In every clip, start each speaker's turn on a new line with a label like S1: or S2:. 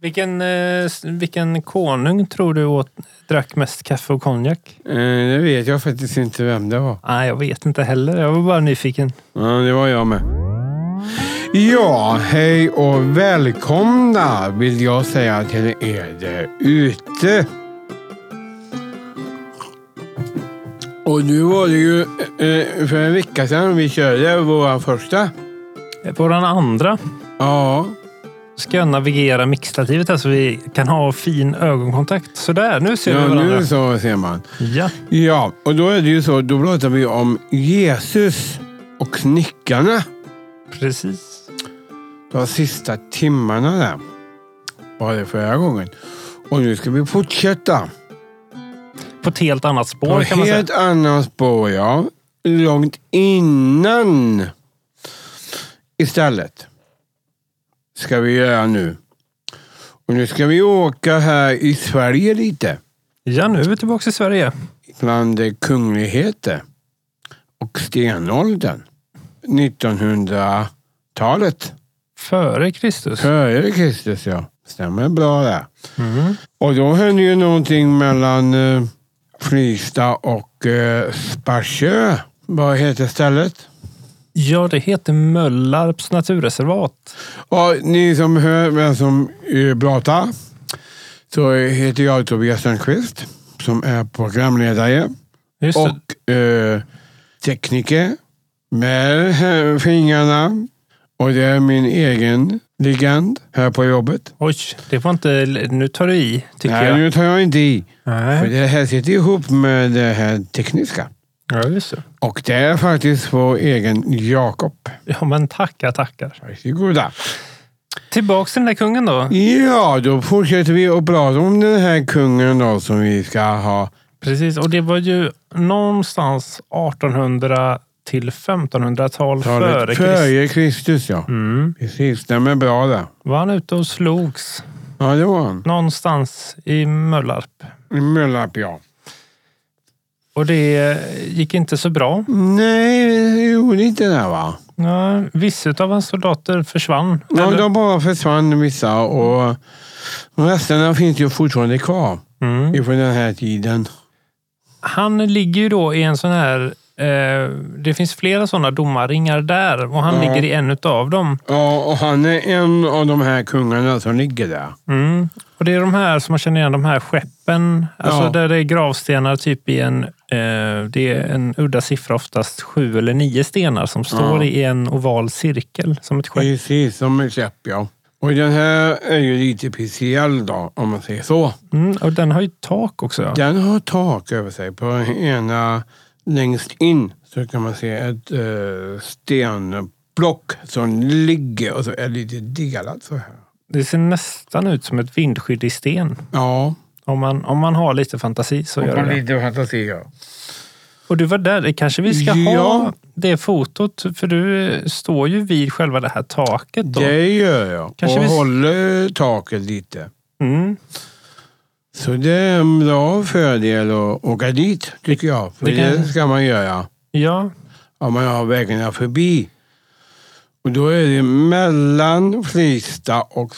S1: Vilken, eh, s- vilken konung tror du åt, drack mest kaffe och konjak?
S2: Eh, Det vet jag faktiskt inte vem det var.
S1: Nej, jag vet inte heller. Jag var bara nyfiken.
S2: Ja, det var jag med. Ja, hej och välkomna vill jag säga till er där ute. Och nu var det ju eh, för en vecka sedan vi körde vår första.
S1: Våran andra
S2: Ja,
S1: ska jag navigera mixtativet här så vi kan ha fin ögonkontakt. Sådär, nu ser
S2: ja
S1: vi varandra.
S2: nu så ser man.
S1: Ja.
S2: Ja, och då är det ju så, då pratar vi om Jesus och snickarna.
S1: Precis.
S2: de sista timmarna där. Var det förra gången. Och nu ska vi fortsätta.
S1: På ett helt annat spår
S2: På
S1: kan man säga.
S2: helt annan spår, ja. Långt innan. Istället. Ska vi göra nu. Och nu ska vi åka här i Sverige lite.
S1: Ja, nu är vi tillbaka i Sverige.
S2: Bland eh, kungligheter. Och stenåldern. 1900-talet.
S1: Före Kristus.
S2: Före Kristus, ja. Stämmer bra där.
S1: Mm.
S2: Och då hände ju någonting mellan eh, Flysta och eh, Sparsö. Vad heter stället?
S1: Ja, det heter Möllarps naturreservat.
S2: Och ni som hör vem som eh, pratar så heter jag Tobias Sundqvist som är programledare
S1: Just det.
S2: och eh, tekniker med eh, fingrarna. Och det är min egen legend här på jobbet.
S1: Oj, det var inte... Nu tar du i, tycker
S2: Nej,
S1: jag.
S2: nu tar jag inte i. För
S1: Nej.
S2: det här sitter ihop med det här tekniska.
S1: Ja, just det.
S2: Och det är faktiskt vår egen Jakob.
S1: Ja, men tackar, tackar.
S2: Varsågoda.
S1: Tillbaks till den där kungen då.
S2: Ja, då fortsätter vi att prata om den här kungen då som vi ska ha.
S1: Precis, och det var ju någonstans 1800 till 1500-tal
S2: talet
S1: före Kristus.
S2: före Kristus. ja.
S1: Mm.
S2: Precis, den är bra där.
S1: Var han ute och slogs
S2: Ja, det var han.
S1: någonstans i Möllarp.
S2: I Möllarp, ja.
S1: Och det gick inte så bra.
S2: Nej, det gjorde inte det va?
S1: Ja, vissa av hans soldater försvann.
S2: Ja,
S1: Eller-
S2: de bara försvann vissa och resterna finns ju fortfarande kvar
S1: Mm.
S2: ifrån den här tiden.
S1: Han ligger ju då i en sån här... Eh, det finns flera såna domarringar där och han
S2: Ja.
S1: ligger i en av dem.
S2: Ja, och han är en av de här kungarna som ligger där.
S1: Mm. Och det är de här som man känner igen, de här skeppen. Alltså
S2: Ja.
S1: där det är gravstenar typ i en, eh, det är en udda siffra, oftast sju eller nio stenar som står
S2: Ja.
S1: i en oval cirkel som ett skepp.
S2: Precis, som en käpp ja. Och den här är ju lite speciell då, om man säger så.
S1: Mm, och den har ju tak också. Ja.
S2: Den har tak över sig. På ena längst in så kan man se ett eh, stenblock som ligger och så är det lite delat så här.
S1: Det ser nästan ut som ett vindskydd i sten.
S2: Ja,
S1: Om man, om man har lite fantasi så
S2: och
S1: gör det det.
S2: lite fantasi ja.
S1: Och du var där, det kanske vi ska ha
S2: Ja.
S1: det fotot, för du eh, står ju vid själva det här taket. Då.
S2: Det gör jag.
S1: Kanske
S2: och
S1: vi-
S2: håller taket lite.
S1: Mm.
S2: Så det är en bra fördel att åka dit, tycker jag. För
S1: det kan-
S2: det ska man göra.
S1: Ja,
S2: om man har vägarna förbi. Och då är det mellan Frista och,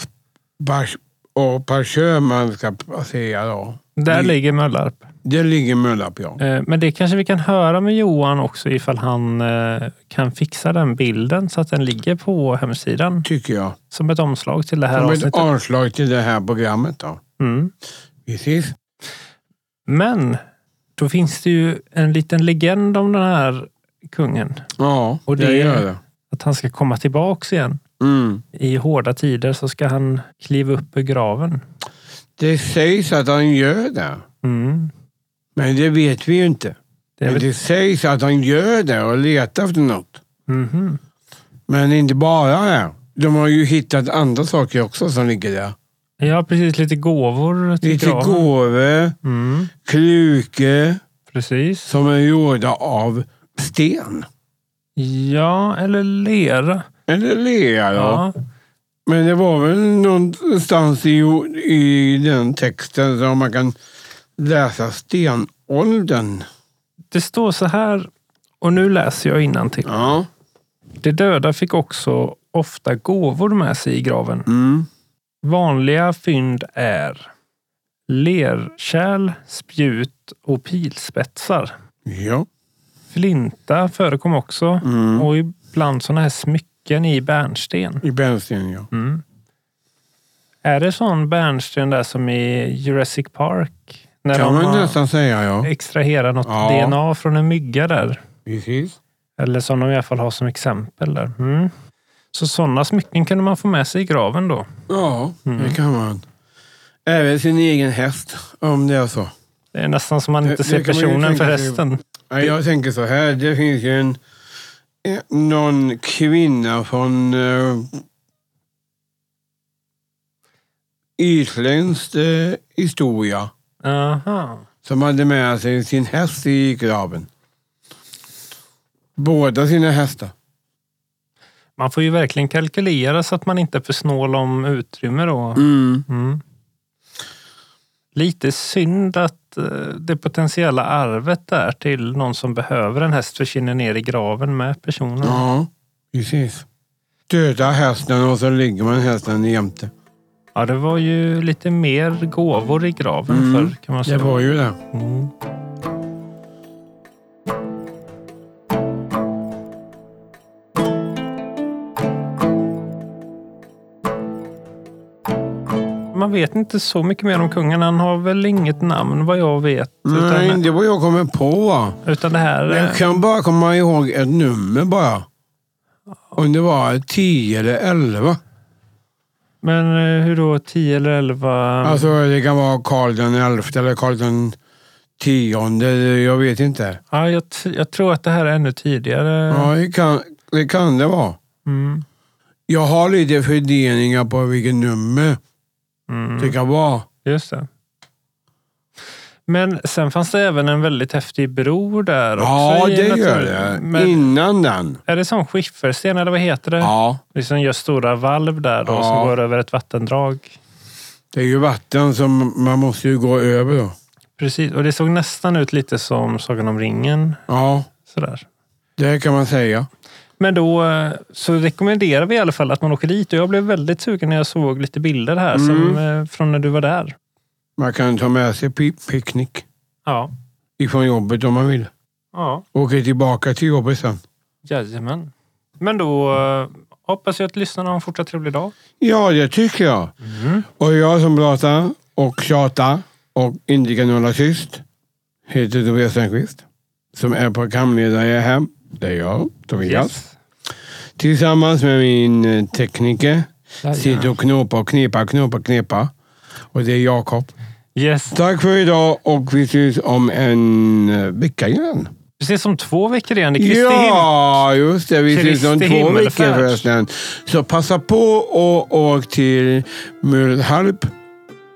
S2: Bars- och Parsö man ska passera då.
S1: där
S2: Det-
S1: ligger Möllarp.
S2: Det ligger Möllarp ja.
S1: Eh, Men det kanske vi kan höra med Johan också ifall han eh, kan fixa den bilden så att den ligger på hemsidan
S2: Tycker jag.
S1: som ett omslag till det här
S2: Som ett
S1: avsnittet.
S2: avslag till det här programmet då.
S1: Mm.
S2: Precis.
S1: Men då finns det ju en liten legend om den här kungen.
S2: Ja,
S1: Och det-
S2: det gör det.
S1: Att han ska komma tillbaks igen.
S2: Mm.
S1: I hårda tider så ska han kliva upp ur graven.
S2: Det sägs att han gör det.
S1: Mm.
S2: Men det vet vi ju inte.
S1: Det är
S2: Men
S1: väl...
S2: det sägs att han gör det och letar efter något.
S1: Mhm.
S2: Men inte bara det. De har ju hittat andra saker också som ligger där.
S1: Ja, precis. Lite gåvor till
S2: Lite
S1: graven.
S2: gåvor.
S1: Mm.
S2: kluke
S1: Precis.
S2: som är gjorda av sten.
S1: Ja, eller lera.
S2: Eller lera.
S1: Ja.
S2: Men det var väl någonstans i, i den texten som man kan läsa stenåldern.
S1: Det står så här, och nu läser jag innantill.
S2: Ja.
S1: De döda fick också ofta gåvor med sig i graven.
S2: Mm.
S1: Vanliga fynd är lerkärl, spjut och pilspetsar.
S2: Ja.
S1: Flinta förekom också
S2: Mm.
S1: och ibland sådana här smycken i bärnsten.
S2: I bärnstenen, ja.
S1: Mm. Är det sån bärnsten där som i Jurassic Park? När
S2: Kan
S1: de
S2: man
S1: har
S2: nästan säga, ja.
S1: extraherat något
S2: Ja.
S1: DNA från en mygga där.
S2: Precis.
S1: Eller som de i alla fall har som exempel där. Mm. Så sådana smycken kunde man få med sig i graven då.
S2: Ja,
S1: Mm.
S2: det kan man. Även sin egen häst, om det är så.
S1: Det är nästan som man
S2: Det-
S1: inte
S2: det
S1: ser
S2: kan man ju
S1: personen för
S2: tänka sig.
S1: hästen.
S2: Nej, jag tänker så här. Det finns ju en, en- någon kvinna från uh, isländsk eh, historia
S1: Aha.
S2: som hade med sig sin häst i graven. Båda sina hästar.
S1: Man får ju verkligen kalkylera så att man inte är för snål om utrymme då. Mm. Lite synd att eh, det potentiella arvet där till någon som behöver en häst försvinner ner i graven med personen.
S2: Ja, precis. Döda hästen och så ligger man hästen jämte.
S1: Ja, det var ju lite mer gåvor i graven
S2: Mm.
S1: förr kan man
S2: Det
S1: säga.
S2: var ju det.
S1: Mm. Man vet inte så mycket mer om kungen. Han har väl inget namn vad jag vet.
S2: Nej,
S1: Utan,
S2: det var jag kommer på. va?
S1: utan det här...
S2: Jag kan bara komma ihåg ett nummer bara. Om det var 10 eller 11.
S1: Men eh, hur då? 10 eller 11?
S2: Alltså det kan vara Karl den elfte eller Karl den tionde. Jag vet inte.
S1: Ja, jag, t- jag tror att det här är ännu tidigare.
S2: Ja, det kan det, kan det vara.
S1: Mm.
S2: Jag har lite fördelningar på vilket nummer
S1: Mm.
S2: det kan vara.
S1: Just det. Men sen fanns det även en väldigt häftig bro där
S2: Ja,
S1: också. i
S2: det gör
S1: naturen.
S2: det.
S1: Men Eh.
S2: Innan den.
S1: Är det som skiffersten eller vad heter det?
S2: Ja,
S1: Liksom gör stora valv där då
S2: Ja.
S1: som går över ett vattendrag.
S2: det är ju vatten som man måste ju gå över då.
S1: Precis, och det såg nästan ut lite som Sagan om ringen.
S2: Ja,
S1: Sådär.
S2: det kan man säga.
S1: Men då eh, så rekommenderar vi i alla fall att man åker dit och jag blev väldigt sugen när jag såg lite bilder här
S2: Mm.
S1: som, eh, från när du var där.
S2: Man kan ta med sig pi- picknick
S1: Ja.
S2: ifrån jobbet om man vill.
S1: ja.
S2: Åker tillbaka till jobbet sen.
S1: Jajamän. Men då eh, hoppas jag att lyssnarna har en fortsatt trevlig dag.
S2: Ja, det tycker jag. Och jag som pratar och tjatar och inte kan hålla tyst heter Tobias Sundqvist. Som är programledare här. Det är jag, Tobias. Tillsammans med min eh, tekniker. Sitter och knåpar och knepar, knåpar, knepar. Och det är Jakob.
S1: Yes.
S2: Tack för idag och vi ses om en eh, vecka igen.
S1: Precis som två veckor igen. Det är Kristi himmel.
S2: Ja, just det. Vi ses om
S1: Kristi
S2: två veckor
S1: himmelfärd.
S2: förresten. Så passa på och åk till Mölnhalp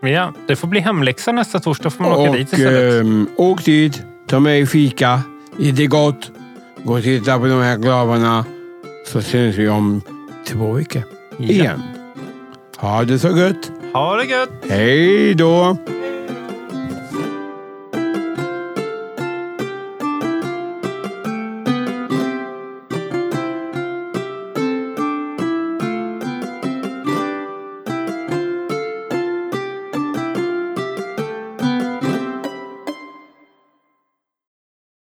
S1: Men Ja, det får bli hemläxa nästa torsdag. får man åka dit
S2: Och
S1: istället.
S2: ehm, åk dit, ta med fika, är det gott. Gå och titta på de här glavarna så syns vi om två veckor
S1: Ja.
S2: igen. Ha det så gött.
S1: Ha det gött!
S2: Hej då!